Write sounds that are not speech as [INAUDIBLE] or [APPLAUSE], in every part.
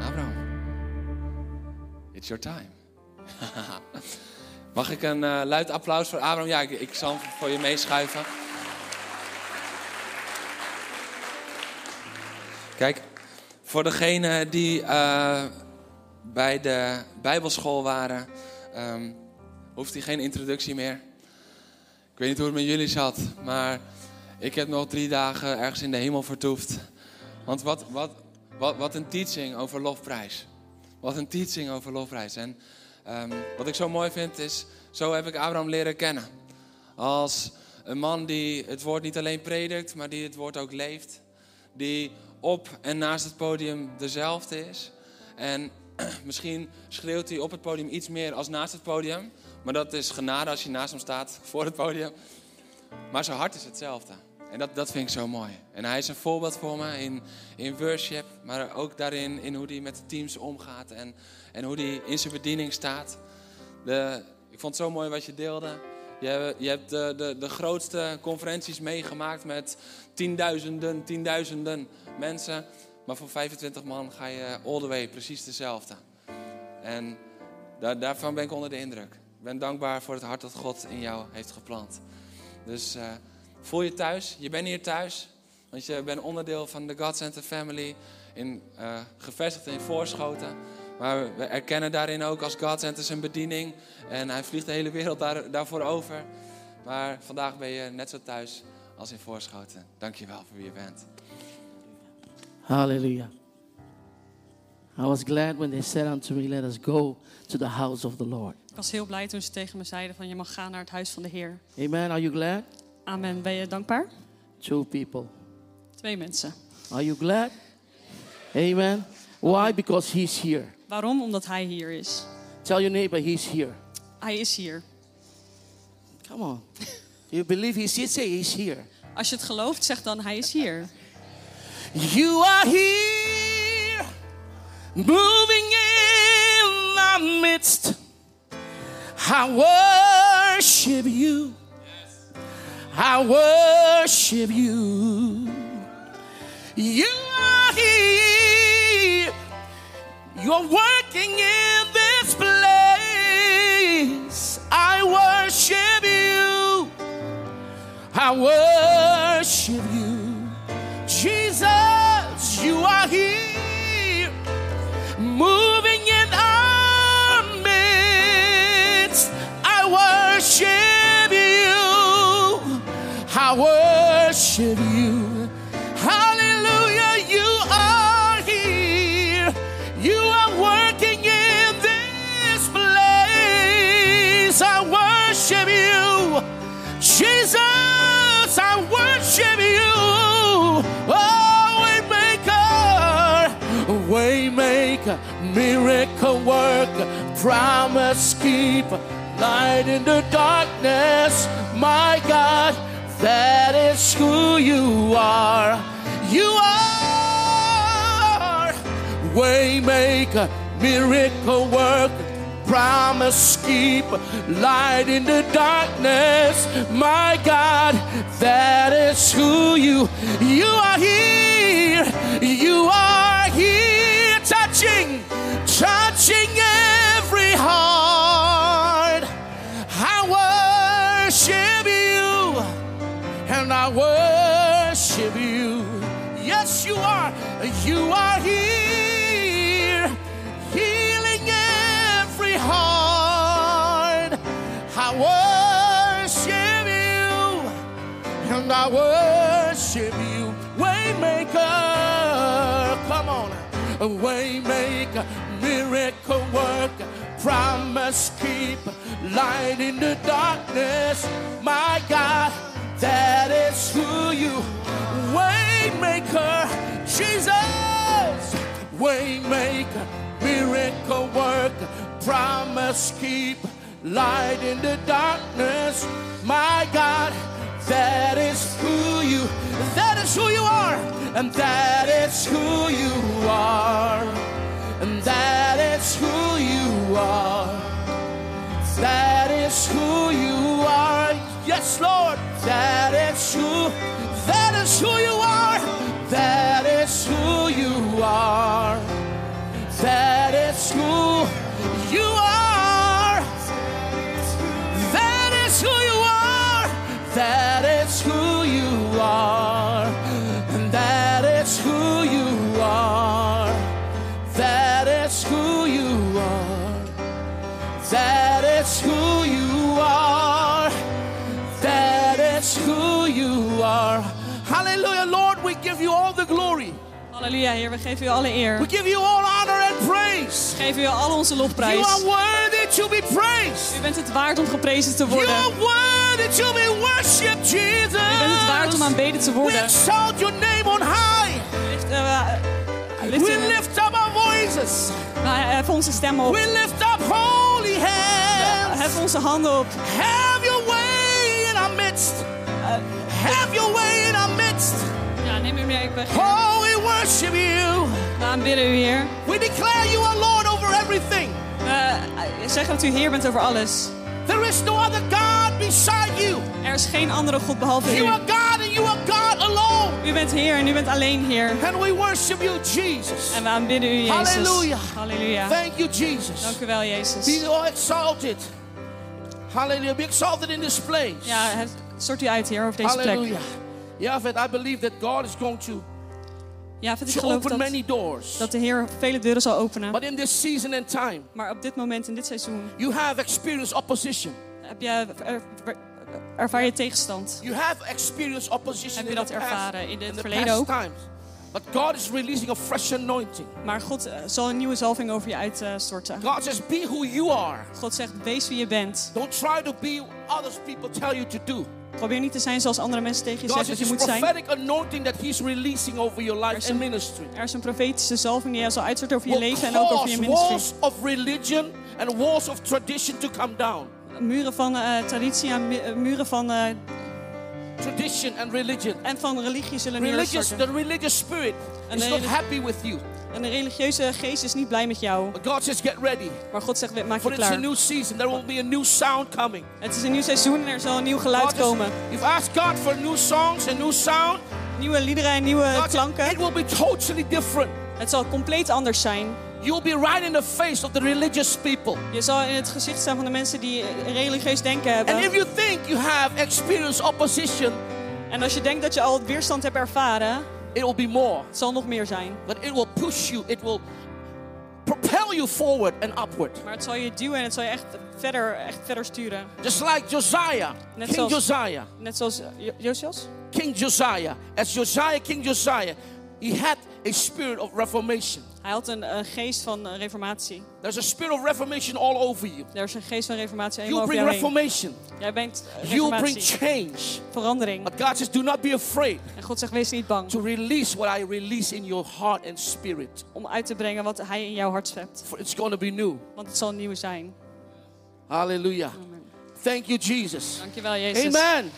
Abraham, it's your time. [LAUGHS] Mag ik een eh, luid applaus voor Abraham? Ja, ik, ik zal hem voor je meeschuiven. Kijk, voor degenen die eh, bij de Bijbelschool waren, ehm, hoeft hij geen introductie meer. Ik weet niet hoe het met jullie zat, maar ik heb nog drie dagen ergens in de hemel vertoefd. Want wat, wat, wat, wat een teaching over lofprijs. Wat een teaching over lofprijs. En ehm, wat ik zo mooi vind is, zo heb ik Abraham leren kennen. Als een man die het woord niet alleen predikt, maar die het woord ook leeft. Die op en naast het podium dezelfde is. En [CLEARS THROAT] misschien schreeuwt hij op het podium iets meer als naast het podium. Maar dat is genade als je naast hem staat voor het podium. Maar zijn hart is hetzelfde. En dat, dat vind ik zo mooi. En hij is een voorbeeld voor me in, in worship, maar ook daarin in hoe hij met de teams omgaat en, en hoe hij in zijn bediening staat. De, ik vond het zo mooi wat je deelde. Je, je hebt de, de, de grootste conferenties meegemaakt met tienduizenden, tienduizenden mensen. Maar voor 25 man ga je all the way, precies dezelfde. En daar, daarvan ben ik onder de indruk. Ik ben dankbaar voor het hart dat God in jou heeft geplant. Dus eh, voel je thuis. Je bent hier thuis. Want je bent onderdeel van de God Center Family. In, eh, gevestigd in Voorschoten. Maar we erkennen daarin ook als God Center zijn bediening. En hij vliegt de hele wereld daar, daarvoor over. Maar vandaag ben je net zo thuis als in Voorschoten. Dankjewel voor wie je bent. Hallelujah. I was glad when they said unto me, Let us go to the house of the Lord. Ik was heel blij toen ze tegen me zeiden van je mag gaan naar het huis van de Heer. Amen. Are you glad? Amen. Ben je dankbaar? Two people. Twee mensen. Are you glad? Amen. Why? Because he's here. Waarom? Omdat hij hier is. Tell your neighbor he's here. Hij is hier. Come on. You believe he's here? Say he's here. Als je het gelooft, zeg dan hij is hier. You are here, moving in my midst. I worship you. I worship you. You are here. You're working in this place. I worship you. I worship you. Jesus, you are here, moving in our midst. I worship you. I worship you. Hallelujah, you are here. You are working in this place. I worship you. Jesus, I worship you. Oh, waymaker, waymaker, miracle work, promise keep, light in the darkness. My God, that is who you are. You are waymaker, miracle work. Promise keep light in the darkness, my God. That is who you. You are here. You are here, touching, touching every heart. I worship you and I worship you. Yes, you are. You are here, healing every heart. I worship you and I worship you. Waymaker, come on. Waymaker, miracle work, promise keep, light in the darkness. My God, that is who you. Waymaker, Jesus. Waymaker, miracle work, promise keep, light in the darkness. and that is who you are, and that is who you are, that is who you are, yes, Lord, that is who, that is who you are, that is who you are, that is who you are. That is who you are. That is who you are. And that is who you are. That is who you are. That is who you are. That is who you are. Hallelujah, Lord, we give you all the glory. Halleluja, Heer, we geven u alle We eer. give you all honor and praise. We geven u al onze You lofprijs. are worthy to be praised. U bent het waard om geprezen te You worden. are U worthy to be worshipped, Jesus. bent het waard om aanbeden te We worden. exalt your name on high. U lift, eh, eh, We u lift uw- lift up our voices. maar eh, hef onze stem op. We lift up holy Hef hands. onze handen op. Have your Uh, way in our midst. Have your way in our midst. Ja, neem u mee. We, Oh, we worship you. we aanbidden u, Heer. We declare you are Lord over everything. We eh, zeggen dat u Heer bent over alles. There is no other God beside you. Er is geen andere God behalve You u. are God and you are God alone. U bent Heer en u bent alleen Heer. And we worship you, Jesus. En we aanbidden u, Jezus. Halleluja. Halleluja. Thank you, Jesus. Dank u wel, Be Jezus. all exalted. Hallelujah. Be exalted in this place. Ja, het- sort u uit, Heer, over deze plek. Hallelujah. Yafet, I believe that God is going to, Ja, vind ik to geloof open dat, many doors. dat de Heer vele deuren zal openen. But in this season and time, Maar op dit moment, in dit seizoen, you have experienced opposition. heb je, er- er- ervaar je tegenstand. You have experienced opposition Heb je in dat the past, ervaren in het in the verleden past ook? times. But God is releasing a fresh anointing. Maar God eh, zal een nieuwe zalving over je uitstorten. God says, be who you are. God zegt, wees wie je bent. Don't try to be what other people tell you to do. Probeer niet te zijn zoals andere mensen tegen je God zeggen says dat je it's moet zijn. prophetic anointing that He's releasing over your life and ministry. Er is een profetische zalving die je zal uitstorten over je Will leven en ook over cause je ministry. walls of religion and walls of tradition to come down. Muren van eh, traditie en mu- eh, muren van, eh, Tradition and religion. en van religie zullen Religious, neerstorten. the religious spirit And is the not relig- happy with you. En de religieuze geest is niet blij met jou. But God says, get ready. Maar God zegt, we- maak je For it's a klaar. new season. There will be a new sound coming. Het is een nieuw seizoen en er zal een nieuw geluid God Oh, is- komen. you've asked God for new songs and new sound. Nieuwe liederen en nieuwe God says, it Eh, klanken. will be totally different. Het zal compleet anders zijn. You'll be right in the face of the religious people. Je zal in het gezicht staan van de mensen die religieus denken And if hebben. you think you have experienced opposition, En als je denkt dat je al het weerstand hebt ervaren, it will be more. het zal nog meer zijn. But it will push you. It will propel you forward and upward. Maar het zal je duwen en het zal je echt verder, echt verder sturen. Just like Josiah, Net King zoals- Josiah, Net zoals eh, Jo- Josias? King Josiah. As Josiah, King Josiah, he had a spirit of reformation. Hij had een, eh, geest van eh, reformatie. There's a spirit of reformation all over you. Er is een geest van reformatie helemaal You over bring jou heen. reformation. Jij brengt eh, You bring reformatie, change. verandering. But God says, do not be afraid En God zegt, wees niet bang to release what I release in your heart and spirit. om uit te brengen wat hij in jouw hart schept. For it's going to be new. Want het zal nieuw zijn. Hallelujah. Thank you, Jesus. Dankjewel, Jezus. Amen.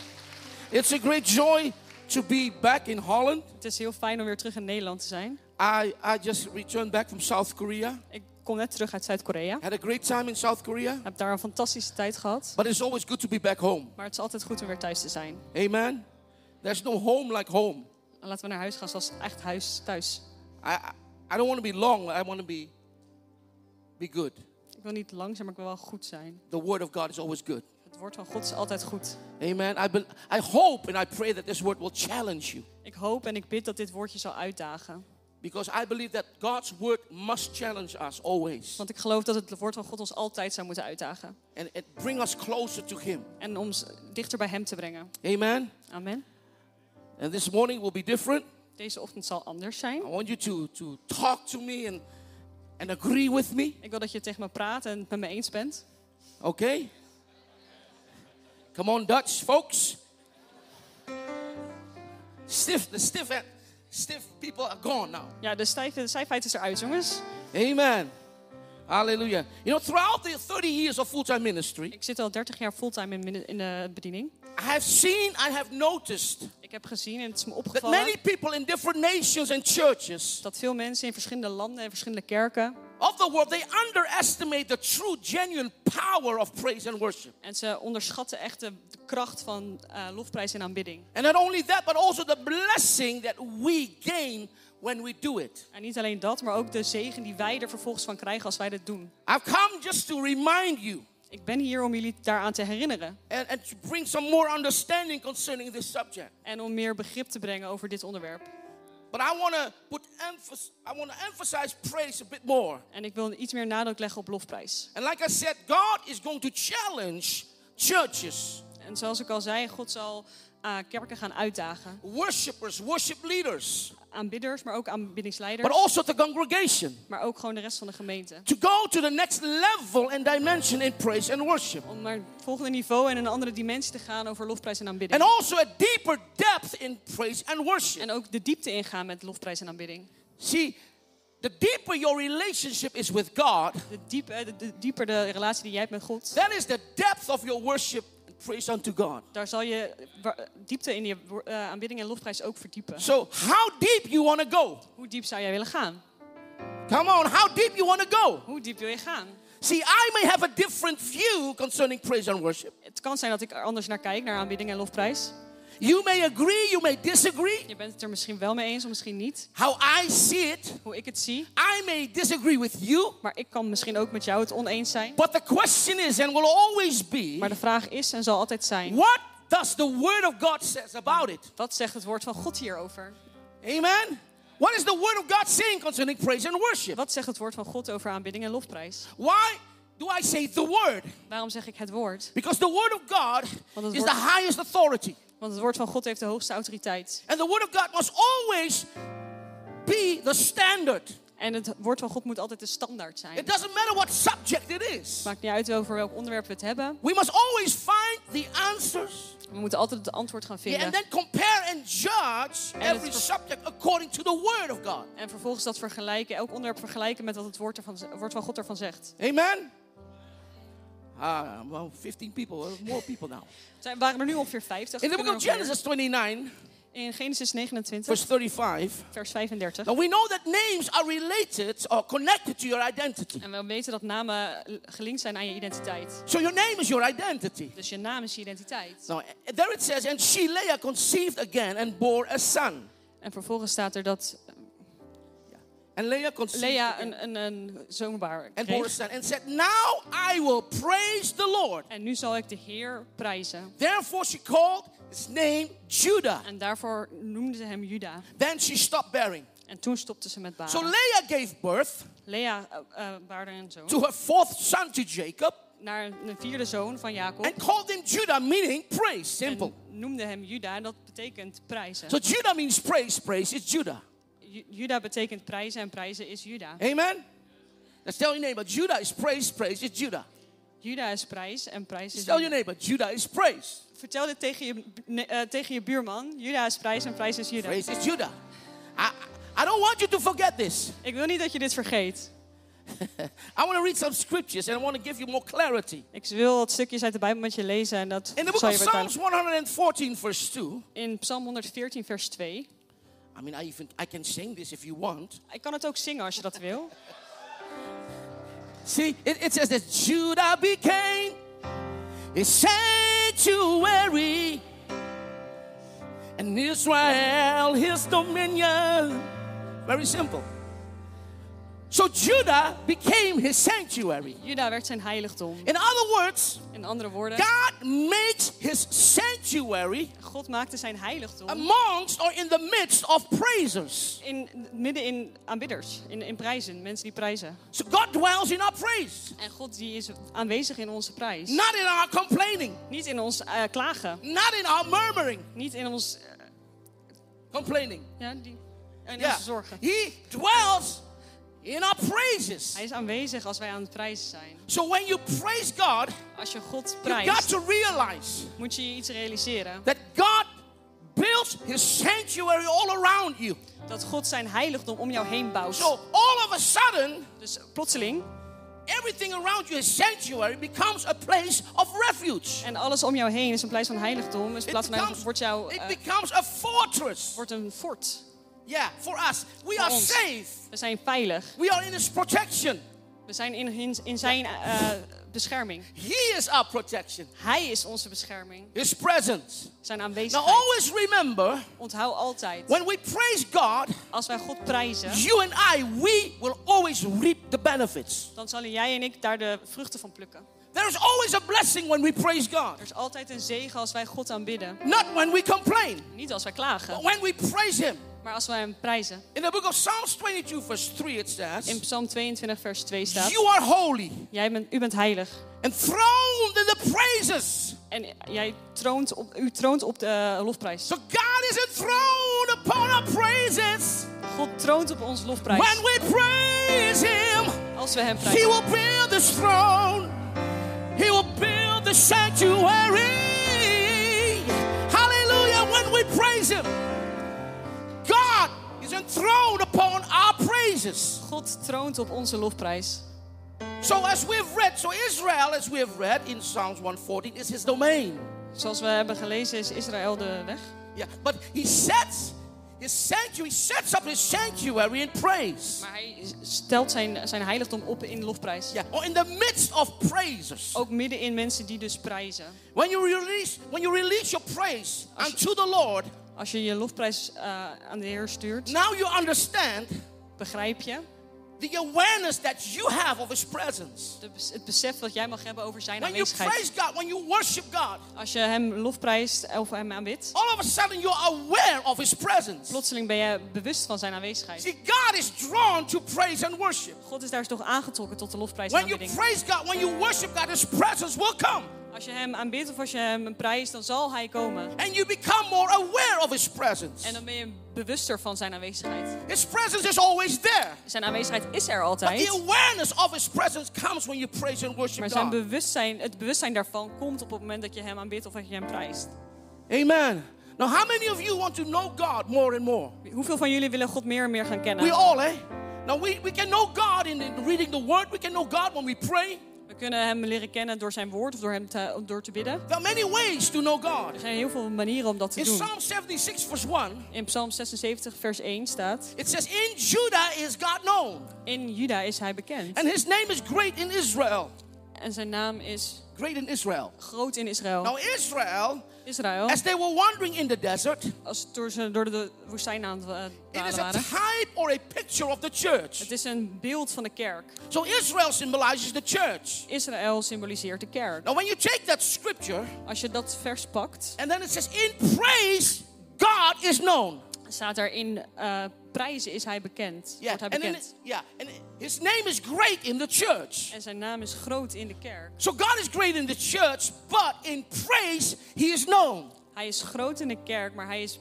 It's a great joy to be back in Holland. Het is heel fijn om weer terug in Nederland te zijn. I, I just returned back from South Korea. Ik kom net terug uit Zuid-Korea. Had a great time in South Korea. Heb daar een fantastische tijd gehad. But it's always good to be back home. Maar het is altijd goed om weer thuis te zijn. Amen. There's no home like home. En laten we naar huis gaan zoals echt huis thuis. I, I, I don't want to be long. I want to be, be good. Ik wil niet langzaam, maar ik wil wel goed zijn. The word of God is always good. Het woord van God is altijd goed. Amen. I, bel I hope and I pray that this word will challenge you. Ik hoop en ik bid dat dit woordje zal uitdagen. Because I believe that God's word must challenge us always. Want ik geloof dat het woord van God ons altijd zou moeten uitdagen. And it bring us closer to Him. En ons dichter bij Hem te brengen. Amen. Amen. And this morning will be different. Deze ochtend zal anders I zijn. want you to, to talk to me and, and agree with me. Ik wil dat je tegen me praat en het met me eens bent. Okay? Come on, Dutch folks. Stiff, the stiff, stiff people are gone now. Ja, de stijve de stijfheid is eruit, jongens. Amen. Hallelujah. You know, throughout the 30 years of full time ministry, Ik zit al 30 jaar fulltime in, min- in de bediening. I have seen, I have noticed Ik heb gezien en het is me that opgevallen many people in different nations and churches dat veel mensen in verschillende landen en verschillende kerken of the world they underestimate the true, genuine power of praise and worship. en ze onderschatten echt de, de kracht van eh, lofprijs en aanbidding. And not only that, but also the blessing that we gain when we do it. En niet alleen dat, maar ook de zegen die wij er vervolgens van krijgen als wij dat doen. I've come just to remind you Ik ben hier om jullie daaraan te herinneren and, and to bring some more understanding concerning this subject. en om meer begrip te brengen over dit onderwerp. But I want to put emphasis, I want to emphasize praise a bit more. En ik wil iets meer nadruk leggen op lofprijs. And like I said, God is going to challenge churches, En zoals ik al zei, God zal eh, kerken gaan uitdagen. worshipers, worship leaders, Aanbidders, maar ook aanbiddingsleiders. but also the congregation maar ook gewoon de rest van de gemeente. to go to the next level and dimension in praise and worship. Om naar het volgende niveau en een andere dimensie te gaan over lofprijs en aanbidding. And also a deeper depth in praise and worship. En ook de diepte ingaan met lofprijs en aanbidding. See, the deeper your relationship is with God, De, diep, eh, de, de dieper de relatie die jij hebt met God, that is the depth of your worship and praise unto God. daar zal je wa- diepte in je wo- eh, aanbidding en lofprijs ook verdiepen. So, how deep you want to go? Hoe diep zou jij willen gaan? Come on, how deep you want to go? Hoe diep wil je gaan? See, I may have a different view concerning praise and worship. Het kan zijn dat ik er anders naar kijk, naar aanbidding en lofprijs. You may agree, you may disagree. Je bent het er misschien wel mee eens of misschien niet. How I see it, Hoe ik het zie. I may disagree with you. Maar ik kan misschien ook met jou het oneens zijn. But the question is, and will always be, Maar de vraag is en zal altijd zijn. what does the Word of God says about it? Wat zegt het woord van God hierover? Amen. What is the Word of God saying concerning praise and worship? Wat zegt het woord van God over aanbidding en lofprijs? Why do I say the Word? Waarom zeg ik het woord? Because the Word of God Want het is woord- the highest authority, Want het woord van God heeft de hoogste autoriteit. and the Word of God must always be the standard. En het woord van God moet altijd de standaard zijn. It Het doesn't matter what subject it is. maakt niet uit over welk onderwerp we het hebben. We must always find the answers We moeten altijd het antwoord gaan and vinden. then compare and judge every ver- subject according to the Word of God. En vervolgens dat vergelijken, elk onderwerp vergelijken met wat het woord, ervan, het woord van God ervan zegt. Amen. Ah, well, 15 people, uh, more people now. Er zijn- waren er nu ongeveer [LAUGHS] 50. In the book kunnen of er nog meer. Genesis 29, In Genesis 29, verse 35, vers 35. now we know that names are related or connected to your identity. En we weten dat namen gelinkt zijn aan je identiteit. So your name is your identity. Dus je naam is je identiteit. Now, eh, there it says, and she, Leah, conceived again and bore a son. En vervolgens staat er dat And Leah conceived Lea again een, een, een zoon baar and bore a kreeg. son and said, Now I will praise the Lord. En nu zal ik de Heer prijzen. Therefore, she called his name Judah. En daarvoor noemden ze hem Juda. Then she stopped bearing. En toen stopte ze met baren. So Leah gave birth Lea eh, eh, baarde een zoon. to her fourth son, to Jacob, Naar een vierde zoon van Jacob. and called him Judah, meaning praise. Simple. En noemde hem Juda. En dat betekent prijzen. So Judah means praise. Praise is Judah. Ju- Juda betekent prijzen. En prijzen is Juda. Amen. Let's tell your neighbor, Judah is praise. Praise is Judah. Juda is prijs. En prijs is Let's tell your Juda. neighbor, Judah is praise. Vertel dit tegen je, bu- ne- eh, tegen je buurman. Juda is prijs. En prijs is Juda. Praise is Judah. I, I don't want you to forget this. Ik wil niet dat je dit vergeet. I want to read some scriptures and I want to give you more clarity. Ik wil wat stukjes uit de Bijbel met je lezen. En dat In the book zal of je Psalms vertalen. 114, verse 2, In Psalm 114 vers 2. I mean, I even I can sing this if you want. Ik kan het ook zingen als je dat wil. See, it, it says that Judah became a sanctuary, and Israel his dominion. Very simple. So Judah became his sanctuary. Juda werd zijn heiligdom. In other words, In andere woorden, God makes his sanctuary God maakte zijn heiligdom amongst or in the midst of praisers. in, midden in aanbidders, in, in prijzen, mensen die prijzen. So God dwells in our praise, En God die is aanwezig in onze prijs. not in our complaining, Niet in ons eh, klagen, not in our murmuring, niet in ons, eh, complaining. ja, die, in Yeah. onze zorgen. He dwells in our praises. Hij is aanwezig als wij aan het prijzen zijn. So when you praise God, Als je God you got prijst, to realize moet je je iets realiseren. that God builds his sanctuary all around you. Dat God zijn heiligdom om jou heen bouwt. So all of a sudden, Dus plotseling everything around you, a sanctuary, becomes a place of refuge. En alles om jou heen is een plaats van heiligdom. Is een It plaats van becomes, heiligdom. Wordt, jou, it eh, becomes a fortress. wordt een fort Yeah, for us. We voor are ons. safe. We zijn veilig. We are in His protection. We zijn in, in, in zijn eh, bescherming. He is our protection, Hij is onze bescherming. His presence. Zijn Now, aanwezigheid. always remember Onthoud altijd. when we praise God, Als wij God prijzen, you and I, we will always reap the benefits. dan zullen jij en ik daar de vruchten van plukken. There is always a blessing when we praise God, Er is altijd een zegen als wij God aanbidden. not when we complain, Niet als wij klagen, but when we praise Him. maar als wij hem prijzen. In the book of Psalms 22, verse 3, it In says, Psalm 22, vers 2 staat: You are holy, jij bent, U bent heilig. enthroned in the praises. En jij troont op, u troont op de eh, lofprijs. So God is enthroned upon our praises. God troont op ons lofprijs. When we praise Him, Als we hem He prijzen. will build this throne. He will build the sanctuary. Hallelujah. When we praise Him, God is enthroned upon our praises. God troont op onze lofprijs. So, as we've read, so Israel, as we have read in Psalms 114, is His domain. Zoals we hebben gelezen is Israël de weg. Yeah, but He sets His sanctuary, He sets up His sanctuary in praise. Maar hij stelt zijn, zijn heiligdom op in lofprijs. Yeah, or in the midst of praises. Ook midden in mensen die dus prijzen. When you release, when you release your praise unto the Lord, Als je je lofprijs eh, aan de Heer stuurt, now you understand begrijp je the awareness that you have of His presence. de bes- het besef dat jij mag hebben over zijn When you aanwezigheid. praise God, when you worship God, Als je hem lofprijst of hem aanbidt, all of a sudden you're aware of His presence. plotseling ben je bewust van zijn aanwezigheid. See, God is drawn to praise and worship. God is daar toch aangetrokken tot de lofprijs en When you aanbidding. praise God, when you worship God, His presence will come. Als je hem aanbidt of als je hem prijst, dan zal hij komen. And you become more aware of His presence. En dan ben je bewuster van zijn aanwezigheid. His presence is always there. Zijn aanwezigheid is But er the altijd. awareness of His presence comes when you praise and worship Maar zijn God. bewustzijn, het bewustzijn daarvan komt op het moment dat je hem aanbidt of dat je hem prijst. Amen. Now, how many of you want to know God more and more? Hoeveel van jullie willen God meer en meer gaan We kennen? all, eh? Now we, we can know God in, in reading the word. We can know God when we pray. We kunnen hem leren kennen door zijn woord of door hem te, door te bidden. There are many ways to know God. Er zijn heel veel manieren om dat te In doen. Psalm 76, verse 1, In Psalm 76, vers 1 staat: it says, In Judah is God known, In Juda is hij bekend. and his name is great in Israel. En zijn naam is Great in Israel. groot in Israël. Now, Israel, Israël, as they were wandering in the desert, als door ze door de woestijn aan het wa- it is a waren. type or a picture of the Het church. is een beeld van de kerk. So, Israel symbolizes the church. Israël symboliseert de kerk. Now, when you take that scripture, Als je dat vers pakt, and then it says, In praise, God is known. staat er in eh, prijzen is hij bekend. Yeah, Wordt hij and in, bekend. yeah, and his name is great in the church. En zijn naam is groot in de kerk. So God is great in the church, but in praise he is known. Hij is groot in de kerk, maar hij is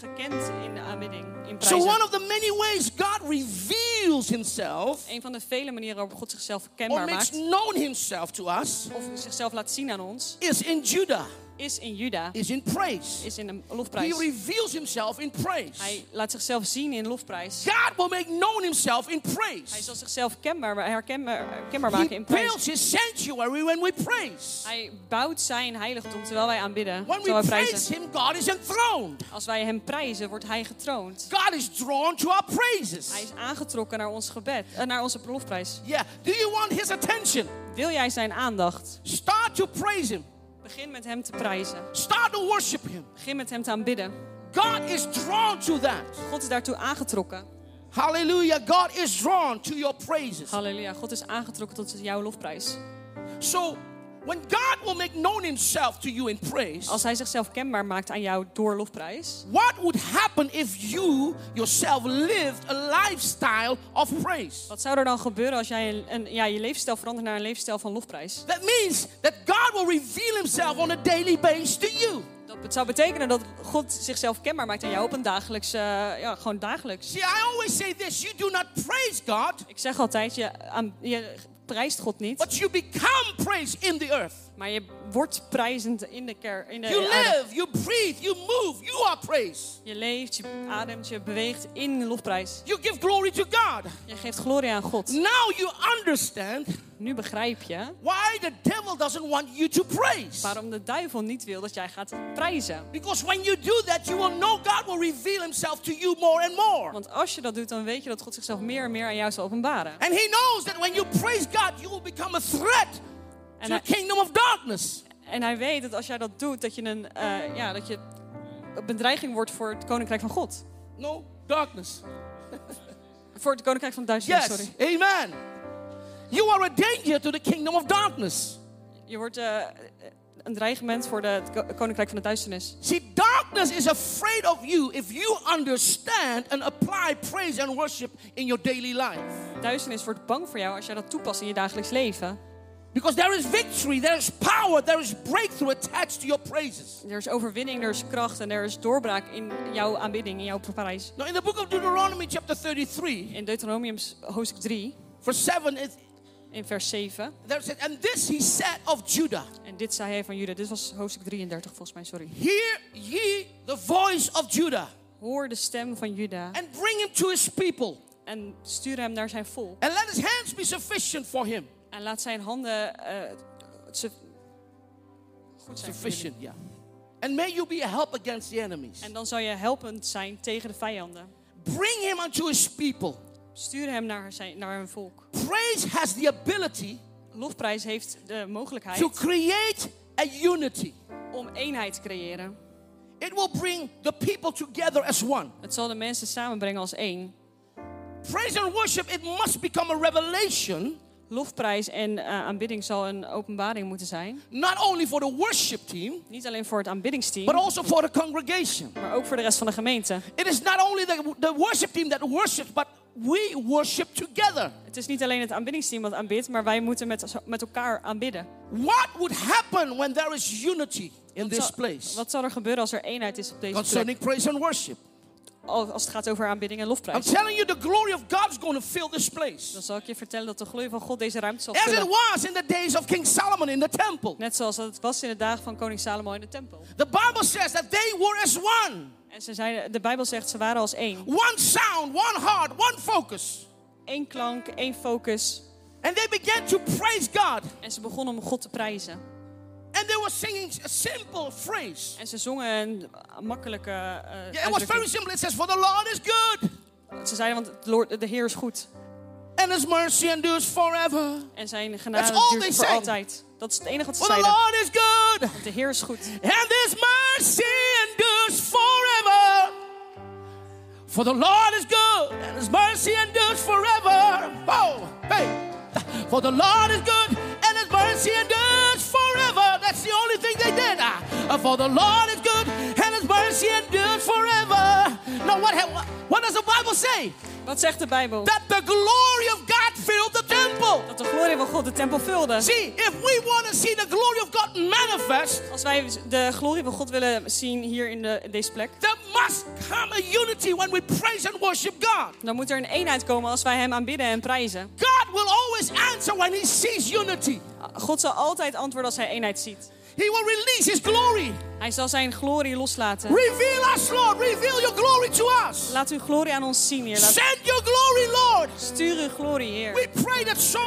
gekend in de aanbidding, in So one prijzen. of the many ways God reveals himself Een van de vele manieren waarop God zichzelf or kenbaar makes maakt, known himself to us of zichzelf laat zien aan ons, is in Judah, is in Juda, is in praise. is in een He lofprijs. reveals himself in praise. Hij laat zichzelf zien in lofprijs. God will make known himself in Hij praise. zal zichzelf kenbaar, herkenbaar kenbaar maken He in prijs. builds his sanctuary when we praise. Hij bouwt zijn heiligdom terwijl wij aanbidden, When terwijl we wij praise prijzen. him, God is enthroned. Als wij hem prijzen, wordt hij getroond. God is drawn to our Hij praises. is aangetrokken naar ons gebed, eh, naar onze lofprijs. Yeah. Do you want his attention? Wil jij zijn aandacht? Start to praise Him. Begin met hem te prijzen. Start to worship Him. Begin met hem te aanbidden. God is drawn to that. God is daartoe aangetrokken. Hallelujah. God is drawn to your praises. Halleluja, God is aangetrokken tot jouw lofprijs. So, when God will make known Himself to you in praise, Als hij zichzelf kenbaar maakt aan jou door lofprijs, what would happen if you yourself lived a lifestyle of praise? wat zou er dan gebeuren als jij een, een- ja, je levensstijl verandert naar een levensstijl van lofprijs? That means that God will reveal Himself on a daily basis to you. Dat het zou betekenen dat God zichzelf kenbaar maakt aan jou op een dagelijks, eh, ja, gewoon dagelijks. See, I always say this you do not praise God, Ik zeg altijd, je, aan- je prijst God niet, but you become praise in the earth. Maar je wordt prijzend in de kerk. In de You adem. live, you breathe, you move, you are praise. Je leeft, je ademt, je beweegt in de lofprijs. You give glory to God. Je geeft glorie aan God. Now you understand Nu begrijp je why the devil doesn't want you to praise. waarom de duivel niet wil dat jij gaat prijzen. Because when you do that, you will know God will reveal himself to you more and more. Want als je dat doet, dan weet je dat God zichzelf meer en meer aan jou zal openbaren. And he knows that when you praise God, you will become a threat to En the hij, kingdom of darkness. en hij weet dat als jij dat doet, dat je een, eh, ja, dat je een bedreiging wordt voor het koninkrijk van God. No, darkness. Voor het koninkrijk van Duitsland, Yes, sorry. amen. You are a danger to the kingdom of darkness. Je wordt eh, een dreigement voor de, het ko- koninkrijk van de duisternis. See, darkness is afraid of you if you understand and apply praise and worship in your daily life. Duisternis wordt bang voor jou als jij dat toepast in je dagelijks leven. Because there is victory, there is power, there is breakthrough attached to your praises. Er is overwinning, er is kracht en er is doorbraak in jouw aanbidding, in jouw prijs. Now, in the book of Deuteronomy, chapter 33, In Deuteronomium hoofdstuk 3, verse 7, it, in vers 7. there said, And this he said of Judah En dit zei hij van Juda. Dit was hoofdstuk 33 volgens mij, sorry. Hear ye the voice of Judah, Hoor de stem van Juda and bring him to his people, en stuur hem naar zijn volk. and let his hands be sufficient for him. En laat zijn handen eh, su- goed zijn. voor jullie. Sufficient, yeah. And may you be a help against the enemies. En dan zal je helpend zijn tegen de vijanden. Bring him unto his people. Stuur hem naar, zijn, naar hun volk. Praise has the ability Lofprijs heeft de to mogelijkheid create a unity. om eenheid te creëren. It will bring the people together as one. Het zal de mensen samenbrengen als één. Praise and worship, it must become a revelation, Lofprijs en eh, aanbidding zal een openbaring moeten zijn. not only for the worship team, Niet alleen voor het but aanbiddingsteam, also for the congregation. maar ook voor de rest van de gemeente. It is not only the, the worship team that worships, but we worship together. Het is niet alleen het aanbiddingsteam dat aanbidt, maar wij moeten met, met elkaar aanbidden. What would happen when there is unity in this Zal- place Wat zal er gebeuren als er eenheid is op deze concerning plek? praise and worship? Al- Als het gaat over aanbidding en I'm lofprijs. telling you, the glory of God is going to fill this Dan place. zal ik je vertellen dat de glorie van God deze ruimte zal As it vullen. was in the days of King Solomon in the temple. Net zoals dat het was in de dagen van koning Salomo in de tempel. The Bible says that they were as one En ze zeiden, de Bijbel zegt, ze waren als één. one sound, one heart, one focus. Eén klank, één focus. And they began to praise God. En ze begonnen om God te prijzen. And they were singing a simple phrase. En ze zongen een makkelijke Yeah, it was eh, very uitdrukking. simple. It says, For the Lord is good, Ze zeiden, want de Lord, de Heer is goed. and his mercy endures forever. En zijn all genade they duurt voor sang. altijd. Dat is het enige wat ze For the zeiden. Lord is good, De Heer is goed. and his mercy endures forever. For the Lord is good, and his mercy endures forever. Oh, hey. For the Lord is good, and his mercy endures forever. That's the only thing they did. Ah, uh, For the Lord is good, and his mercy endures forever. Now, what, ha- what does the Bible say? Wat zegt de Bijbel? That the glory of God filled the temple. Dat de glorie van God de tempel vulde. See, if we want to see the glory of God manifest, Als wij de glorie van God willen zien hier in, de, in deze plek, There must come a unity when we praise and worship God. dan moet er een eenheid komen als wij Hem aanbidden en prijzen. God will always answer when He sees unity. God zal altijd antwoorden als Hij eenheid ziet. He will release His glory. Hij zal Zijn glorie loslaten. Reveal us, Lord. Reveal your glory to us. Laat uw glorie aan ons zien, Heer. Laat, Send your glory, Lord. stuur uw glorie, We Heer. pray that so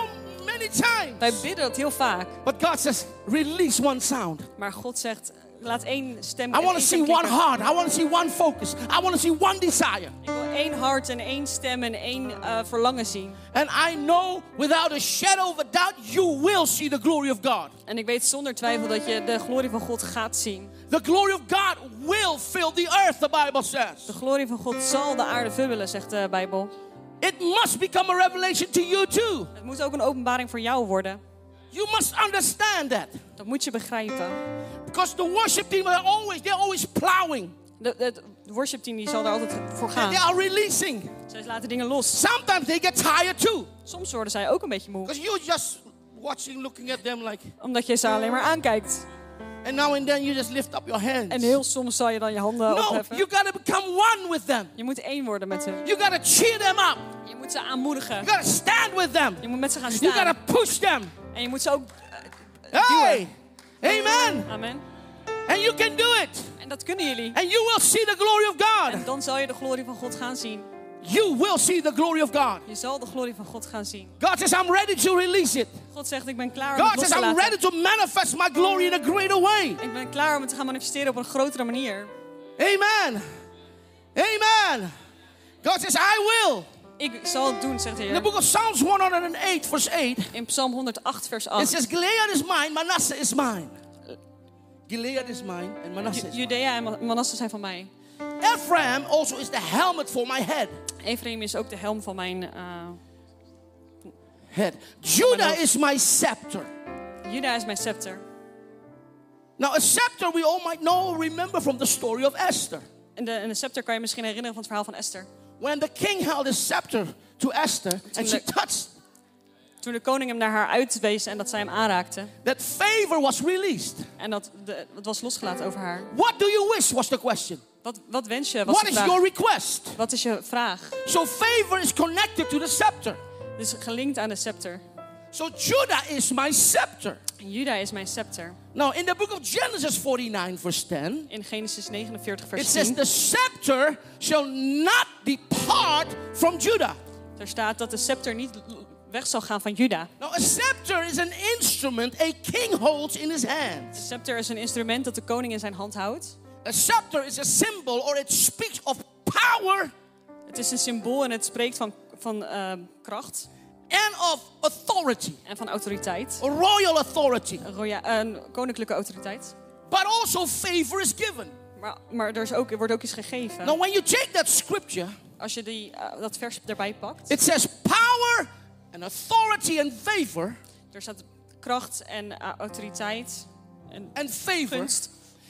many Wij times. bidden dat heel vaak. But God says, release one sound. Maar God zegt, laat één stem... I want en to één see stem one klinken. heart. I want to see one focus. I want to see one desire. Ik wil één hart en één stem en één eh, verlangen zien. And I know without a shadow of a doubt, you will see the glory of God. En ik weet zonder twijfel dat je de glorie van God gaat zien. The glory of God will fill the earth, the Bible says. De glorie van God zal de aarde vullen, zegt de Bijbel. It must become a revelation to you too. Het moet ook een openbaring voor jou worden. You must understand that. Dat moet je begrijpen. Because the worship team are always they're always plowing. De, de, het worshipteam die zal daar altijd voor They gaan. are releasing. Zij laten dingen los. Sometimes they get tired too. Soms worden zij ook een beetje moe. Because you're just watching, looking at them like Omdat je ze alleen maar aankijkt. and now and then you just lift up your hands. En heel soms zal je dan je handen no, you opheffen. gotta become one with them. Je moet één worden met hen. You gotta cheer them up. Je moet ze You aanmoedigen. gotta stand with them. Je moet met ze gaan You gotta staan. push them. En je moet ze ook... eh, Hey! Amen. Amen. And you can do it. En dat kunnen jullie. And you will see the glory of En God. dan zal je de glorie van God gaan zien. You will see the glory of God. Je zal de glorie van God gaan zien. God says, I'm ready to release it. God zegt, ik ben klaar om God het los says, te I'm ready laten. to manifest my glory in a greater way. Ik ben klaar om het te gaan manifesteren op een grotere manier. Amen. Amen. God says, I will. Ik zal het doen, zegt de In the Heer. book of Psalms 108, verse 8, In Psalm 108, vers it 8. says, Gilead is mine, Manasseh is mine. Gilead is mine, and Manasseh is mine. Judea en Manasse zijn van mij. Ephraim also is the helmet for my head. Ephraim is ook de helm van mijn... eh, head. Judah Manasseh. is my scepter. Juda is mijn scepter. Now, a scepter we all might know, remember from the story of Esther. En de, en de scepter kan je misschien herinneren van het verhaal van Esther. When the king held his scepter to Esther and she Tuurlijk. touched, Toen de koning hem naar haar uitwees en dat zij hem aanraakte. that favor was released. En dat de, het was losgelaten over haar. What do you wish was the question. Wat, wat wens je? Was What de is vraag. your request? Wat is je vraag? So, favor is connected to the scepter. Dus gelinkt aan de scepter. So, Judah is my scepter. En Juda is mijn scepter. Now, in the book of Genesis 49, verse 10, In Genesis 49, it vers says, 10. The scepter shall not depart from Judah. Daar staat dat de scepter niet l- weg zal gaan van Juda. Now, a scepter is an instrument a king holds in his hand. De scepter is een instrument dat de koning in zijn hand houdt. A scepter is a symbol or it speaks of power Het is een symbool en het spreekt van, van eh, kracht and of authority, en van autoriteit. or royal authority. Een roya- een koninklijke autoriteit. But also, favor is given. Maar, maar er, is ook, er wordt ook iets gegeven. Now, when you take that scripture, Als je die, eh, dat vers erbij pakt, it says power and authority and favor er staat kracht en eh, autoriteit en and favor. gunst.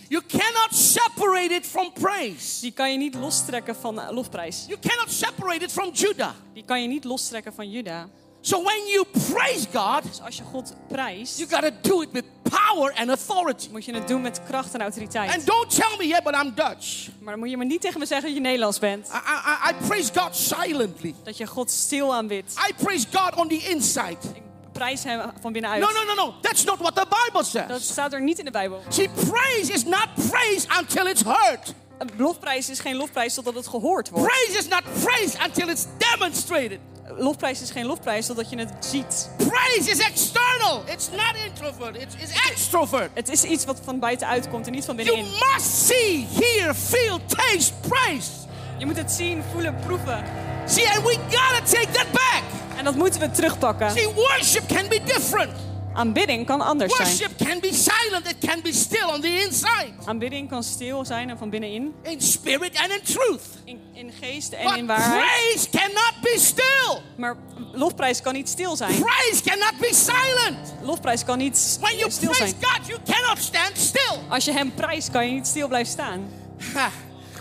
You cannot separate it from praise. Die kan je niet lostrekken van eh, lofprijs. You cannot separate it from Judah. Die kan je niet lostrekken van Juda. So when you praise God, Dus als je God prijst, you got to do it with power and authority. moet je het doen met kracht en autoriteit. And don't tell me, yeah, but I'm Dutch. Maar dan moet je maar niet tegen me zeggen dat je Nederlands bent. I, I, I- I praise God silently. Dat je God stil aanbidt. I praise God on the inside. Ik prijs hem van binnenuit. No, no, no, no. That's not what the Bible Dat says. staat er niet in de Bijbel. See, praise is not praise until it's heard. Een lofprijs is geen lofprijs totdat het gehoord wordt. Praise is not praise until it's demonstrated. Lofprijs is geen lofprijs totdat je het ziet. Praise is external. It's not introvert. It's, it's extrovert. Het is iets wat van buitenuit komt en niet van You binnenin. must see, hear, feel, taste, praise. Je moet het zien, voelen, proeven. See, and we gotta take that back. En dat moeten we terugpakken. See, worship can be different. Aanbidding kan anders zijn. Worship can be silent. It can be still on the inside, Aanbidding kan stil zijn en van binnenin. in spirit and in truth. In, in geest en But in waarheid. praise cannot be still. Maar lofprijs kan niet stil zijn. Praise cannot be silent. Lofprijs kan niet s- eh, When you stil praise zijn. God, you cannot stand still. [LAUGHS] Als je hem prijst, kan je niet stil blijven staan. Ha.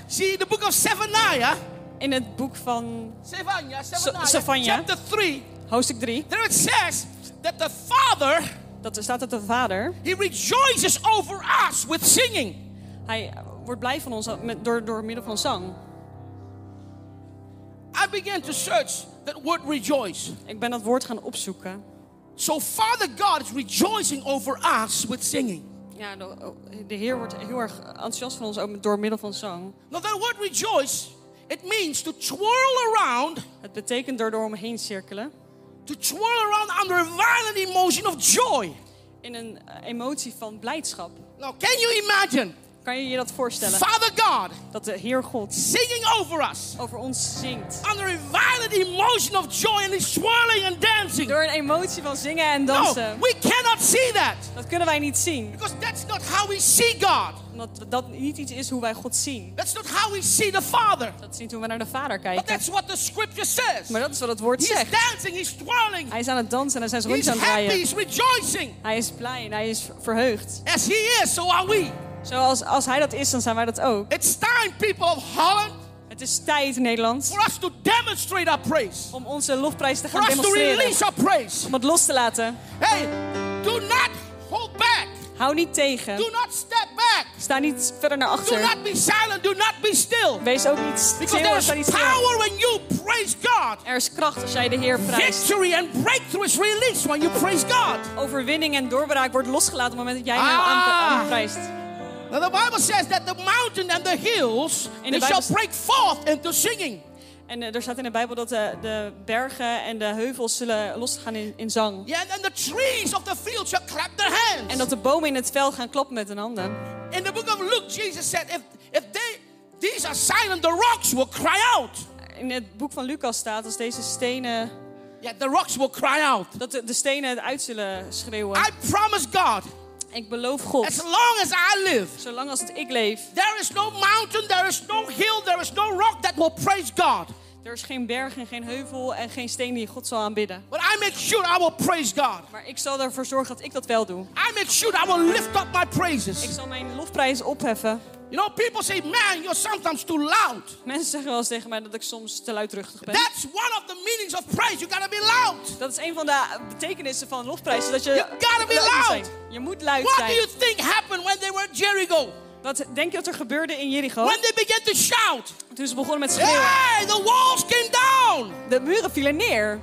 See, the book of Zephaniah, In het boek van Zephaniah, Zephaniah. chapter 3, hoofdstuk 3, there it says that the Father, dat er staat dat de vader, he rejoices over us with singing. hij wordt blij van ons met, door, door middel van zang. I began to search that word rejoice. Ik ben dat woord gaan opzoeken. So Father God is rejoicing over us with singing. Ja, de, oh, de Heer wordt heel erg enthousiast van ons ook door middel van zang. Now that word rejoice, it means to twirl around, Het betekent door door omheen cirkelen. to twirl around under a violent emotion of joy. In een eh, emotie van blijdschap. Now can you imagine Kan je je dat voorstellen? Father God Dat de Heer God singing over us over ons zingt. under a violent emotion of joy and he's swirling and dancing? Door een emotie van zingen en No, dansen. Nou, we cannot see that Dat kunnen wij niet zien. because that's not how we see God. Omdat dat niet iets is hoe wij God zien. That's not how we see the Father. Dat zien toen we naar de Vader But kijken. that's what the scripture says. Maar dat is wat het woord He's zegt. dancing, he's twirling, Hij is aan het dansen en hij is he's rondjes aan het happy, draaien. he's rejoicing. Hij is blij en hij is verheugd. As he is, so are we. Zoals als hij dat is, dan zijn wij dat ook. It's time, people of Holland, Het is tijd, Nederland, for us to demonstrate our praise. om onze lofprijs te For gaan us to demonstreren. release our praise. Om het los te laten. Hey, do not hold back. Hou niet tegen. Do not step back. Sta niet verder naar Do achter. not be silent. Do not be still. Wees ook niet stil. Because sta there niet is stil. power when you praise God. Er is kracht als jij de Heer prijst. Victory and breakthrough is released when you praise God. Overwinning en doorbraak wordt losgelaten op het moment dat jij hem Ah. aan prijst. Now the Bible says that the mountain and the hills they In de shall Bijbel- break forth into singing. En eh, er staat in de Bijbel dat de, de bergen en de heuvels zullen losgaan in, in zang. Yeah, and the trees of the field shall clap their hands. En dat de bomen in het veld gaan klappen met hun handen. in the book of Luke, Jesus said, if if they these are silent, the rocks will cry out. In het boek van Lucas staat als deze stenen, Yeah, the rocks will cry out. dat de, de stenen het uit zullen schreeuwen. I promise God, Ik beloof as God, long as I live, zolang als het ik leef, there is no mountain, there is no hill, there is no rock that will praise God. er is geen berg en geen heuvel en geen steen die God zal aanbidden. But I make sure I will praise God. Maar ik zal ervoor zorgen dat ik dat wel doe. I make sure I will lift up my Ik praises. zal mijn lofprijs opheffen. You know, people say, man, you're sometimes too loud. Mensen zeggen wel eens tegen mij dat ik soms te luidruchtig ben. That's one of the meanings of praise. You gotta be loud. Dat is een van de betekenissen van lofprijzen. Dat je You gotta be luid moet loud. zijn. Je moet luid What do zijn. you think happened when they were at Jericho? Wat denk je dat er gebeurde in Jericho? When they began to shout, Toen ze begonnen met schreeuwen. hey, the walls came down. De muren vielen neer.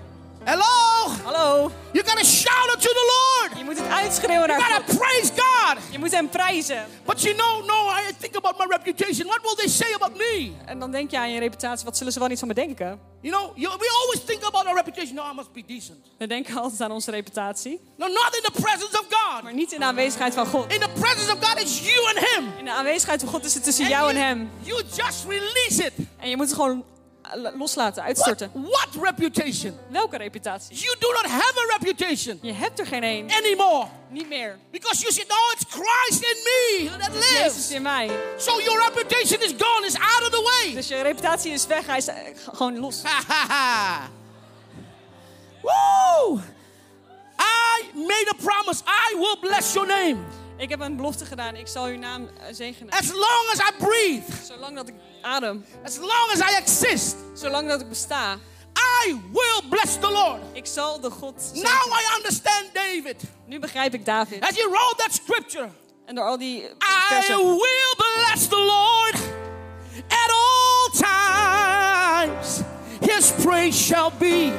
Hello, Hallo. you gotta shout unto the Lord. Je moet het uitschreeuwen You naar God. gotta praise God. Je moet hem prijzen. But you know, no, I think about my reputation. What will they say about me? En dan denk je aan je reputatie. Wat zullen ze wel niet van me denken? You know, you, we always think about our reputation. No, I must be decent. We denken altijd aan onze reputatie. No, not in the presence of God. Maar niet in de aanwezigheid van God. In the presence of God, it's you and Him. In de aanwezigheid van God is het tussen And jou en you- hem. You just release it. En je moet het gewoon eh, loslaten, What, uitstorten. what reputation? Welke reputatie? You do not have a reputation Je hebt er geen één. anymore. Niet meer. Because you said, no, it's Christ in me that Jezus lives. in mij. So your reputation is gone, it's out of the way. Dus je reputatie is weg. Hij is eh, g- gewoon los. Ha ha ha. Woo! I made a promise. I will bless your name. Ik heb een belofte gedaan. Ik zal uw naam eh, zegenen. As long as I breathe, Zolang dat ik adem. as long as I exist, Zolang dat ik besta. I will bless the Lord. Ik zal de God zegenen. Now I understand David. Nu begrijp ik David. As he wrote that scripture, En door al die eh, I versen. will bless the Lord at all times. His praise shall be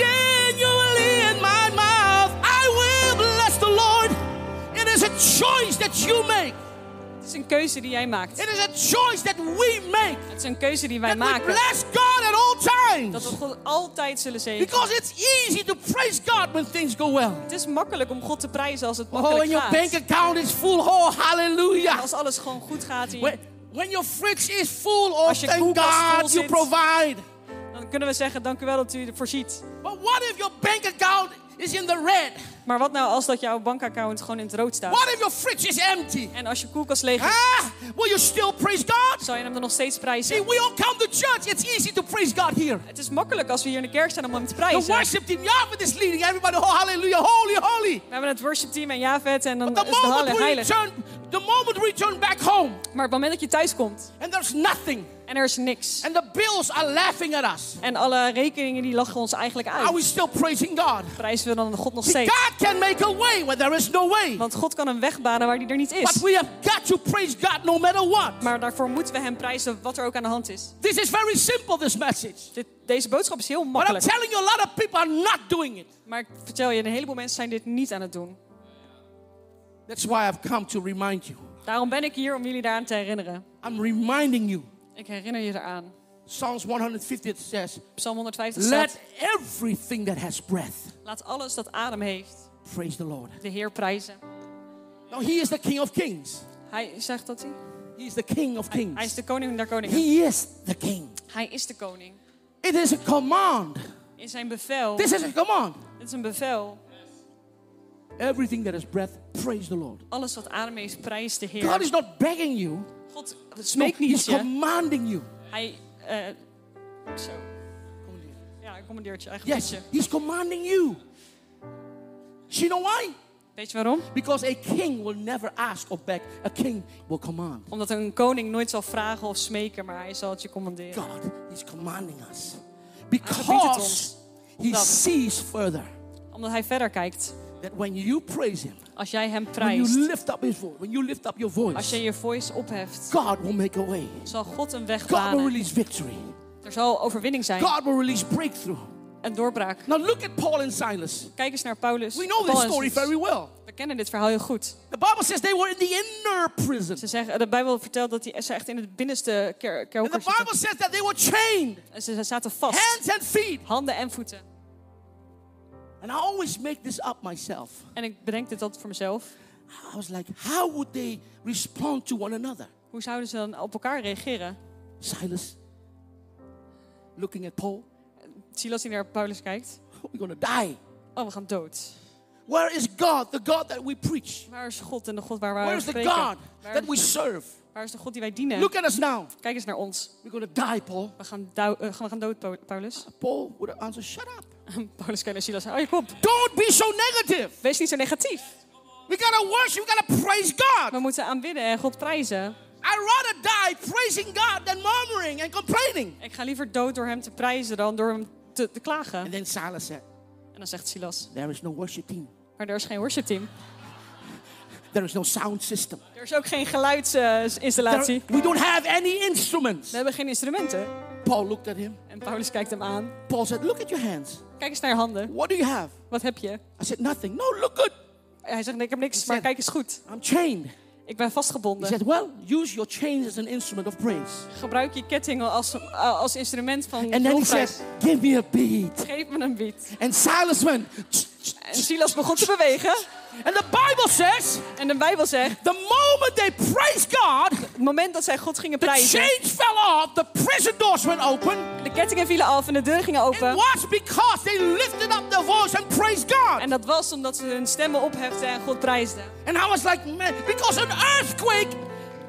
continually in my mouth. I will bless the Lord. It is a choice that you make. Het is een keuze die jij maakt. It is a choice that we make. Het is een keuze die wij That we maken. bless God at all Dat we times. God altijd zullen zegenen. Because it's easy to praise God when things go well. Het is makkelijk om God te prijzen als het Oh, makkelijk when your gaat. bank account is full, oh, hallelujah. Als alles gewoon goed gaat hier, When, when your fridge is full, oh, Als je thank koelkast vol God you zit. provide. dan kunnen we zeggen, dank u wel dat u ervoor ziet. But what if your bank account is in the red? Maar wat nou als dat jouw bankaccount gewoon in het rood staat? What if your fridge is empty? En als je koelkast leeg is, Ah, will you still praise God? zal je hem dan nog steeds See, prijzen? we all come to church. It's easy to praise God here. Het is makkelijk als we hier in de kerk staan om hem The te prijzen. worship team, Yahweh is leading everybody. Oh, hallelujah, holy, holy. We hebben het worshipteam en Javet en dan The is de moment halle we heilig. return, the moment we turn back home, Maar op het moment dat je thuis komt and there's nothing, en er is niks. and the bills are laughing at us. En alle rekeningen die lachen ons eigenlijk Are we uit. still praising God? Prijzen we dan God nog See, steeds. God can make a way where there is no way. Want God kan hem wegbanen waar die er niet But is. we have got to praise God no matter what. Maar daarvoor moeten we hem prijzen wat er ook aan de hand is. This is very simple, this message. Dit, deze boodschap is heel But I'm makkelijk. telling you, a lot of people are not doing it. Maar ik vertel je, een heleboel mensen zijn dit niet aan het doen. That's why I've come to remind you. Daarom ben ik hier om jullie daaraan te herinneren. I'm reminding you. Ik herinner je eraan. Psalms 150 it says, Psalm 150 Let staat, everything that has breath laat alles dat adem heeft praise the Lord. de Heer prijzen. Now, He is the King of Kings. Hij zegt dat hij. He is the King of Hij is Kings. de koning der koningen. He is the King. Hij is de koning. It is a command. In zijn bevel. This is a command. Dit is een bevel. Everything that has breath, praise the Lord. Alles wat adem heeft, prijst de God Heer. is not begging you, God no, smeekt niet He's je. commanding you. Hij, eh, zo. Ja, een commandeertje, eigen Yes, beetje. He's commanding you. Do you know why? Weet je waarom? Because a king will never ask or beg, a king will command. Omdat een koning nooit zal vragen of smeken, maar hij zal het je commanderen. God is commanding us gebiedt het because ons he dat. sees further. Omdat hij verder kijkt. that when you praise Him, Als jij hem when you prijst, lift up His voice, when you lift up your als voice, je je voice opheft, God will make a way. zal God een weg God will banen. release victory. Er zal overwinning zijn God will release breakthrough. en doorbraak. Now look at Paul and Silas. Kijk eens naar Paulus. We know this Paulus. story very well. We kennen dit verhaal heel goed. The Bible says they were in the inner prison. Ze zeggen, de Bijbel vertelt dat die, ze echt in het binnenste ker- And the kerker Bible zitten. says that they were chained, En ze ze zaten [LAUGHS] vast. hands and feet. Handen en voeten. And I always make this up myself. En ik bedenk dit altijd voor mezelf. I was like, how would they respond to one another? Hoe zouden ze dan op elkaar reageren? Silas, looking at Paul, [LAUGHS] Silas die naar Paulus kijkt. we're going to die. Oh, we gaan dood. Where is God, the God that we preach? Waar is God en de God waar we Where aan is the spreken? God that Waar, we serve? waar is de God die wij dienen? Look at us now. Kijk eens naar ons. We're going to die, Paul. We gaan, dou- eh, we gaan dood, Pau- Paulus. Paul would have answered, shut up. Paulus kijkt naar Silas. Hou je kop. Don't be so negative. Wees niet zo negatief. We got to worship. We got to praise We God. moeten aanbidden en God prijzen. I'd rather die praising God than murmuring and complaining. Ik ga liever dood door hem te prijzen dan door hem te, te klagen. And then Silas said, En dan zegt Silas. there is no worship team. Maar er is geen worshipteam. There is no sound system. Er is ook geen geluidsinstallatie. There- we don't have any instruments. We hebben geen instrumenten. Paul looked at him. En Paulus kijkt hem aan. Paul said, look at your hands. Kijk eens naar je handen. What do you have? Wat heb je? I said, nothing. No, look good. Hij zegt, nee, ik heb niks, maar kijk eens goed. I'm chained. Ik ben He vastgebonden. said, well, use your chains as an instrument of praise. Gebruik je ketting als, eh, als instrument van And then he lofprijs. says, give me a beat. Geef me een beat. And Silas went. En Silas begon te bewegen. And the Bible says, En de Bijbel zegt, the moment they praised God, het moment dat zij God gingen the prijzen... chains fell off, the prison doors went open. De kettingen vielen af en de deuren gingen It open. was because they lifted up their voice and praised God. En dat was omdat ze hun stemmen opheften en God prijsden. And I was like, man, because an earthquake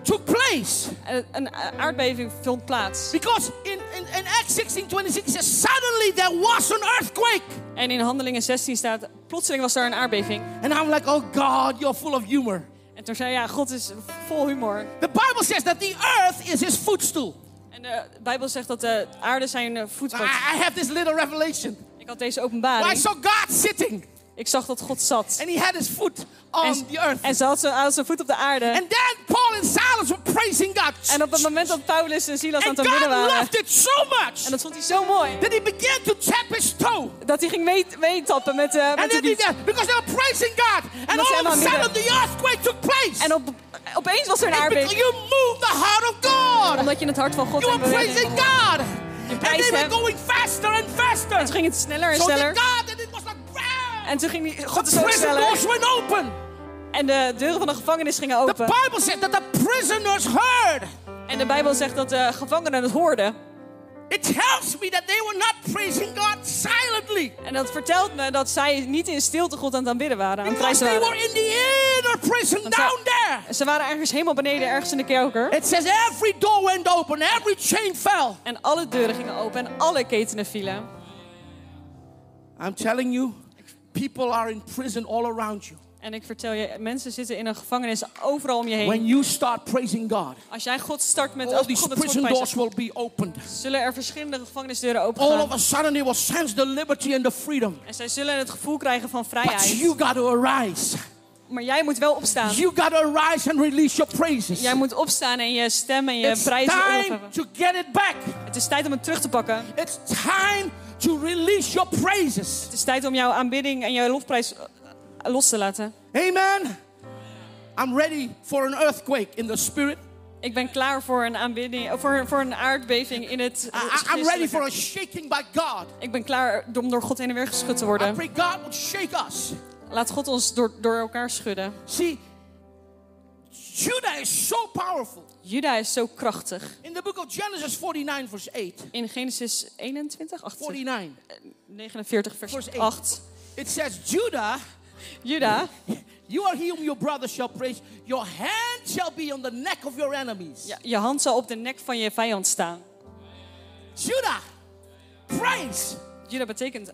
took place. En Een aardbeving vond plaats. Because in, in, in Acts 16 26, it says, suddenly there was an earthquake. En in Handelingen 16 staat, plotseling was daar een aardbeving. And I'm like, oh God, you're full of humor. En toen zei hij, ja, God is vol humor. The Bible says that the earth is his footstool. En de Bijbel zegt dat de aarde zijn eh, voetpad. I, I have this little revelation. Ik had deze Well, I openbaring. saw God sitting Ik zag dat God zat. and he had his foot En, on the earth. en ze had zijn, hij had zijn voet op de aarde. And then Paul and Silas were praising God. En op het moment dat Paulus en Silas aan And het aanbidden God waren. loved it so much En dat vond hij zo mooi. that he began to tap his toe. Dat hij ging mee- meetappen met, eh And met de then he beat. did, because they were praising God. And Dat ze all of a hem sudden aanbidden. the earthquake took place. En op, opeens was er een It's because aardbeving. you move the heart of God. Omdat je het hart van God You in are praising beweging bracht. God. Je And prijst they were hem. going faster and En faster. toen ging het sneller en So the sneller. God that it was like wow. En toen ging die, God The zo prison doors sneller. went open. En de deuren van de gevangenis gingen The open. Bible said that the prisoners heard. En de Bijbel zegt dat de gevangenen het hoorden. It tells me that they were not praising God silently. En dat vertelt me dat zij niet in stilte God aan het aanbidden waren. Aan het Because prijzen they waren. were in the inner prison Want down zij- there. Ze waren ergens helemaal beneden, ergens in de kerker. It says every door went open, every chain fell. En alle deuren gingen open en alle ketenen vielen. I'm telling you, people are in prison all around you. En ik vertel je, mensen zitten in een gevangenis overal om je heen. When you start praising God, Als jij God start met all als these God het prison God doors prijst, will be opened. zullen er verschillende gevangenisdeuren All of opengaan. a sudden, they will sense the liberty and the freedom. En zij zullen het gevoel krijgen van But vrijheid. you got to arise. Maar jij moet wel opstaan. You got to arise and release your praises. Jij moet opstaan en je stem en je It's prijzen time opheffen. to get it back. Het is tijd om het terug te pakken. It's time to release your praises. Het is tijd om jouw aanbidding en jouw lofprijs eh, los te laten. Amen. I'm ready for an earthquake in the spirit. Ik ben klaar voor een, aanbidding, eh, voor, voor een aardbeving in het eh, I, am ready geestelijke. for a shaking by God. Ik ben klaar om door God heen en weer geschud te I worden. pray God would shake us. Laat God ons door, door elkaar schudden. See, Judah is so powerful. Juda is zo krachtig. In the book of Genesis 49, verse 8, In Genesis 21, 28, 49, 49, Vers vers 8. 8. it says, Judah, Juda, you are he whom your brother shall praise. Your hand shall be on the neck of your enemies. ja, je hand zal op de nek van je vijand staan. Judah, praise, Juda betekent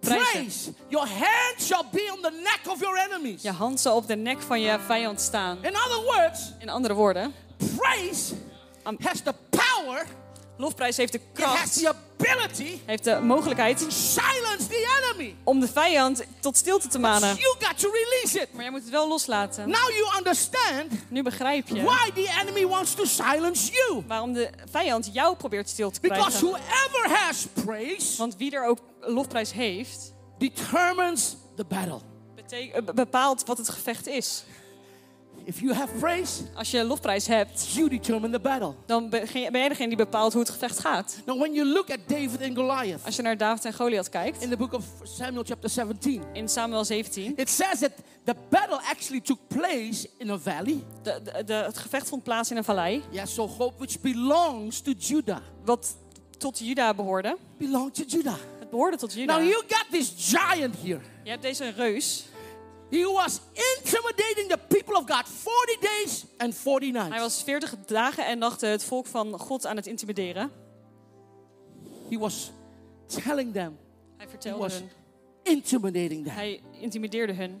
prijzen. praise. Your hand shall be on the neck of your enemies. Je hand zal op de nek van je vijand staan. In other words, In andere woorden, praise Um, has the power Lofprijs heeft de It has kracht, the ability heeft de mogelijkheid to silence the enemy. om de vijand tot stilte te manen. You got to release it. Maar jij moet het wel loslaten. Now you understand Nu begrijp je why the enemy wants to silence you. waarom de vijand jou probeert stil te Because krijgen. whoever has praise Want wie er ook lofprijs heeft, determines the battle. bete- eh, be- bepaalt wat het gevecht is. If you have praise, Als je lofprijs hebt, you determine the battle. dan be- ge- ben jij degene die bepaalt hoe het gevecht gaat. Now, when you look at David and Goliath Als je naar David en Goliath kijkt, in the book of Samuel, chapter 17, in Samuel 17, it says that the battle actually took place in a valley. de, de, de- het gevecht vond plaats in een vallei, Yes, so hope which belongs to Judah. wat tot Juda behoorde. Belong to Judah. Het behoorde tot Juda. Now, you got this giant here. Je hebt deze reus. He was intimidating the people of God 40 days and 40 Hij nights. was 40 dagen en nachten het volk van God aan het intimideren. he was telling them, Hij he vertelde was hun. intimidating them. Hij intimideerde hun.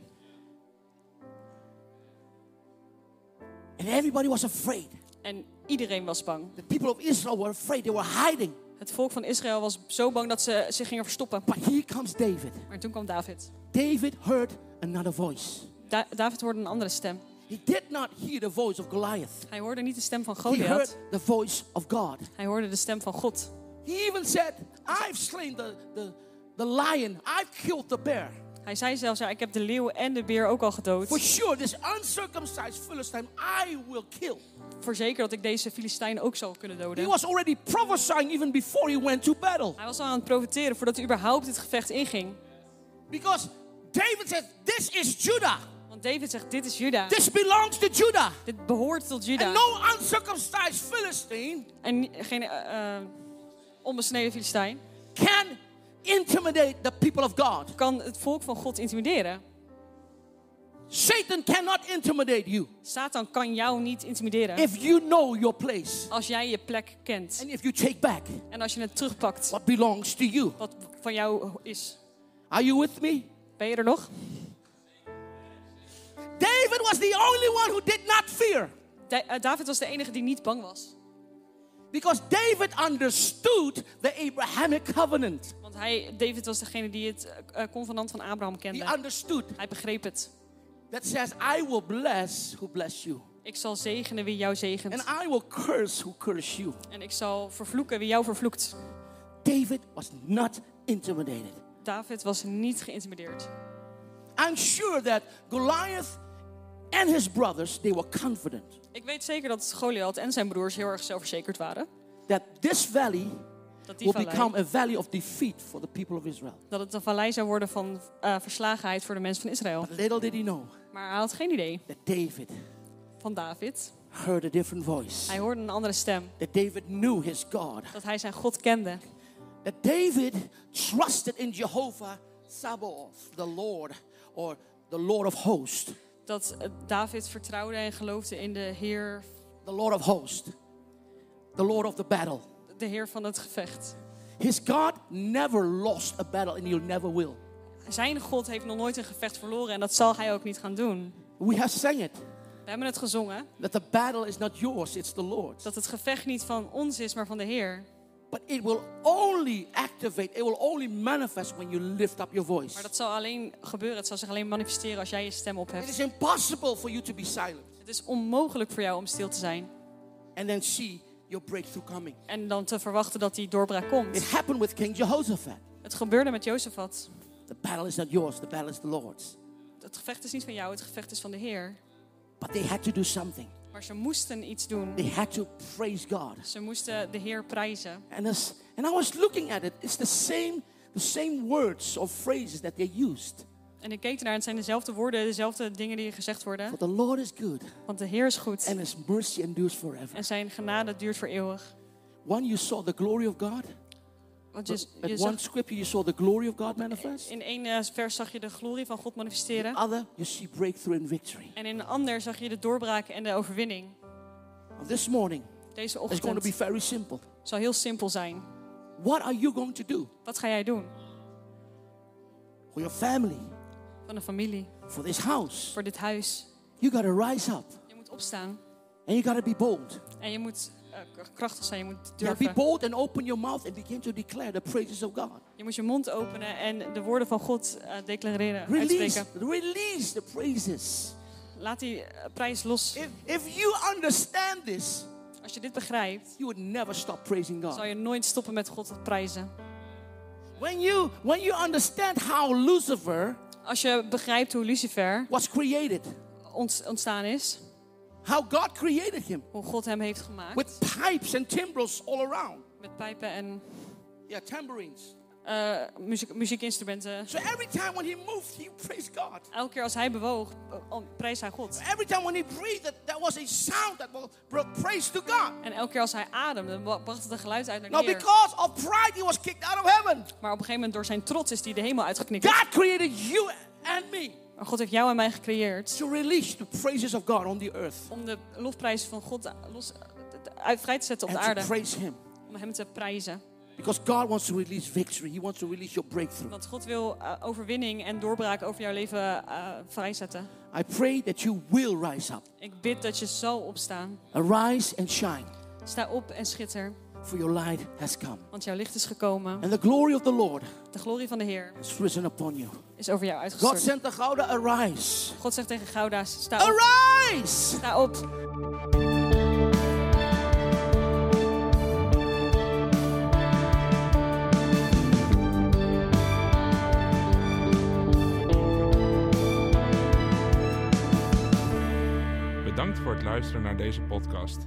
And everybody was afraid. En iedereen was bang. The people of Israel were afraid. They were hiding. Het volk van Israël was zo bang dat ze zich gingen verstoppen. But here comes David. Maar toen kwam David. David heard another voice. Da- David hoorde een andere stem. He did not hear the voice of Goliath. Hij hoorde niet de stem van He heard Goliath. the voice of God. Hij hoorde de stem van God. He even said, I've slain the, the, the lion. I've killed the bear. Hij zei zelfs, ja, ik heb de leeuw en de beer ook al gedood. For sure, this uncircumcised Philistine I will kill. Voor zeker dat ik deze Filistijn ook zou kunnen He doden. was already prophesying even before he went to battle. Hij was al aan het profiteren voordat hij überhaupt dit gevecht inging. Because David said, This is Judah. Want David zegt, dit is Juda. This belongs to Judah. Dit behoort tot And Juda. no uncircumcised Philistine En ni- geen eh, eh, onbesneden Filistijn can intimidate the people of God. kan het volk van God intimideren. Satan cannot intimidate you Satan kan jou niet intimideren if you know your place als jij je plek kent. and if you take back En als je het terugpakt what belongs to you. wat van jou is. Are you with me? Ben je er nog? David was the only one who did not fear Da- eh, David was de enige die niet bang was. because David understood the Abrahamic covenant. Want hij, David was degene die het eh, eh, convenant van Abraham He kende. understood Hij begreep het. that says, I will bless who bless you, Ik zal zegenen wie jou and zegent. I will curse who curse you. En ik zal vervloeken wie jou vervloekt. David was not intimidated. David was niet geïntimideerd. I'm sure that Goliath and his brothers, they were confident Ik weet zeker dat Goliath en zijn broers heel erg zelfverzekerd waren. that this valley Dat will die vallei, become a valley of defeat for the people of Israel. dat het een vallei zou worden van eh, verslagenheid voor de mensen van Israël. Little did he know Maar hij had geen idee that David van David. heard a different voice. Hij hoorde een andere stem. That David knew his God. Dat hij zijn God kende. That David trusted in Jehovah Sabaoth, the Lord, or the Lord of hosts. Dat eh, David vertrouwde en geloofde in de Heer, The Lord of hosts. The Lord of the battle. de heer van het gevecht. His God never lost a battle and he'll never will. Zijn God heeft nog nooit een gevecht verloren en dat zal hij ook niet gaan doen. We have sang it We hebben het gezongen that the battle is not yours, it's the Lord's. dat het gevecht niet van ons is, maar van de Heer. But it will only activate, it will only manifest when you lift up your voice. Maar dat zal alleen gebeuren, het zal zich alleen manifesteren als jij je stem It opheft. is impossible for you to be silent Het is onmogelijk voor jou om stil te zijn and then see your breakthrough coming. en dan te verwachten dat die doorbraak It komt. happened with King Jehoshaphat. Het gebeurde met Jozefat. The battle is not yours, the battle is the Lord's. Het gevecht is niet van jou, het gevecht is van de Heer. But they had to do something. Maar ze moesten iets They doen. had to praise God. Ze moesten de Heer prijzen. And, as, and I was looking at it, it's the same, the same words or phrases that they used. En ik keek ernaar en het zijn dezelfde woorden, dezelfde dingen die gezegd worden. For the Lord is good, Want de Heer is goed and his mercy endures forever. en zijn genade duurt voor eeuwig. One, you saw the glory of God. Want je, At one je zag, scripture, you saw the glory of God manifest. in één eh, vers zag je de glorie van God manifesteren. Other, you see breakthrough and victory. En in een ander zag je de doorbraak en de overwinning. This morning, Deze it's going to be ochtend very simple. zal heel simpel zijn. What are you going to do Wat ga jij doen? for your family, Van de familie, for this house? voor dit huis. You got to rise up Je moet opstaan and you got to be bold. en je moet eh, eh, k- krachtig zijn. Je moet Now be durven. bold and open your mouth and begin to declare the praises of God. Je moet je mond openen en de woorden van God eh, declareren, Release, uitspreken. release the praises. Laat die eh, prijs los. If, if you understand this, Als je dit begrijpt, you would never stop praising zal God. je nooit stoppen met God te prijzen. When you when you understand how Lucifer Als je begrijpt hoe Lucifer was created, ont- ontstaan is, how God created him hoe God hem heeft gemaakt, with pipes and timbrels all around. met pijpen en Yeah, tambourines. eh, muziek, muziekinstrumenten. So every time when he moved, he praised God. Elke keer als hij bewoog, eh, om- prees hij God. Every time when he breathed, that, that was a sound that was- brought praise to God. En elke keer als hij ademde, wa- bracht het een geluid uit Now, naar de neer. Nou, because of pride, he was kicked out of heaven. Maar op een gegeven moment door zijn trots is hij de hemel uitgeknikkerd. God created you and me Maar God heeft jou en mij gecreëerd to release the praises of God on the earth om de lofprijs van God eh, los, uit, vrij te zetten op de and to aarde. praise Him. Om hem te prijzen. Because God wants to release victory, He wants to release your breakthrough. Want God wil eh, overwinning en doorbraak over jouw leven eh, vrijzetten. I pray that you will rise up, Ik bid dat je zal opstaan. arise and shine, Sta op en schitter, for your light has come. want jouw licht is gekomen. And the glory of the Lord De glorie van de Heer has risen upon you. is over jou God uitgestort. sent the Gouda, arise. God zegt tegen Gouda, sta op. Arise! Sta op. Bedankt voor het luisteren naar deze podcast.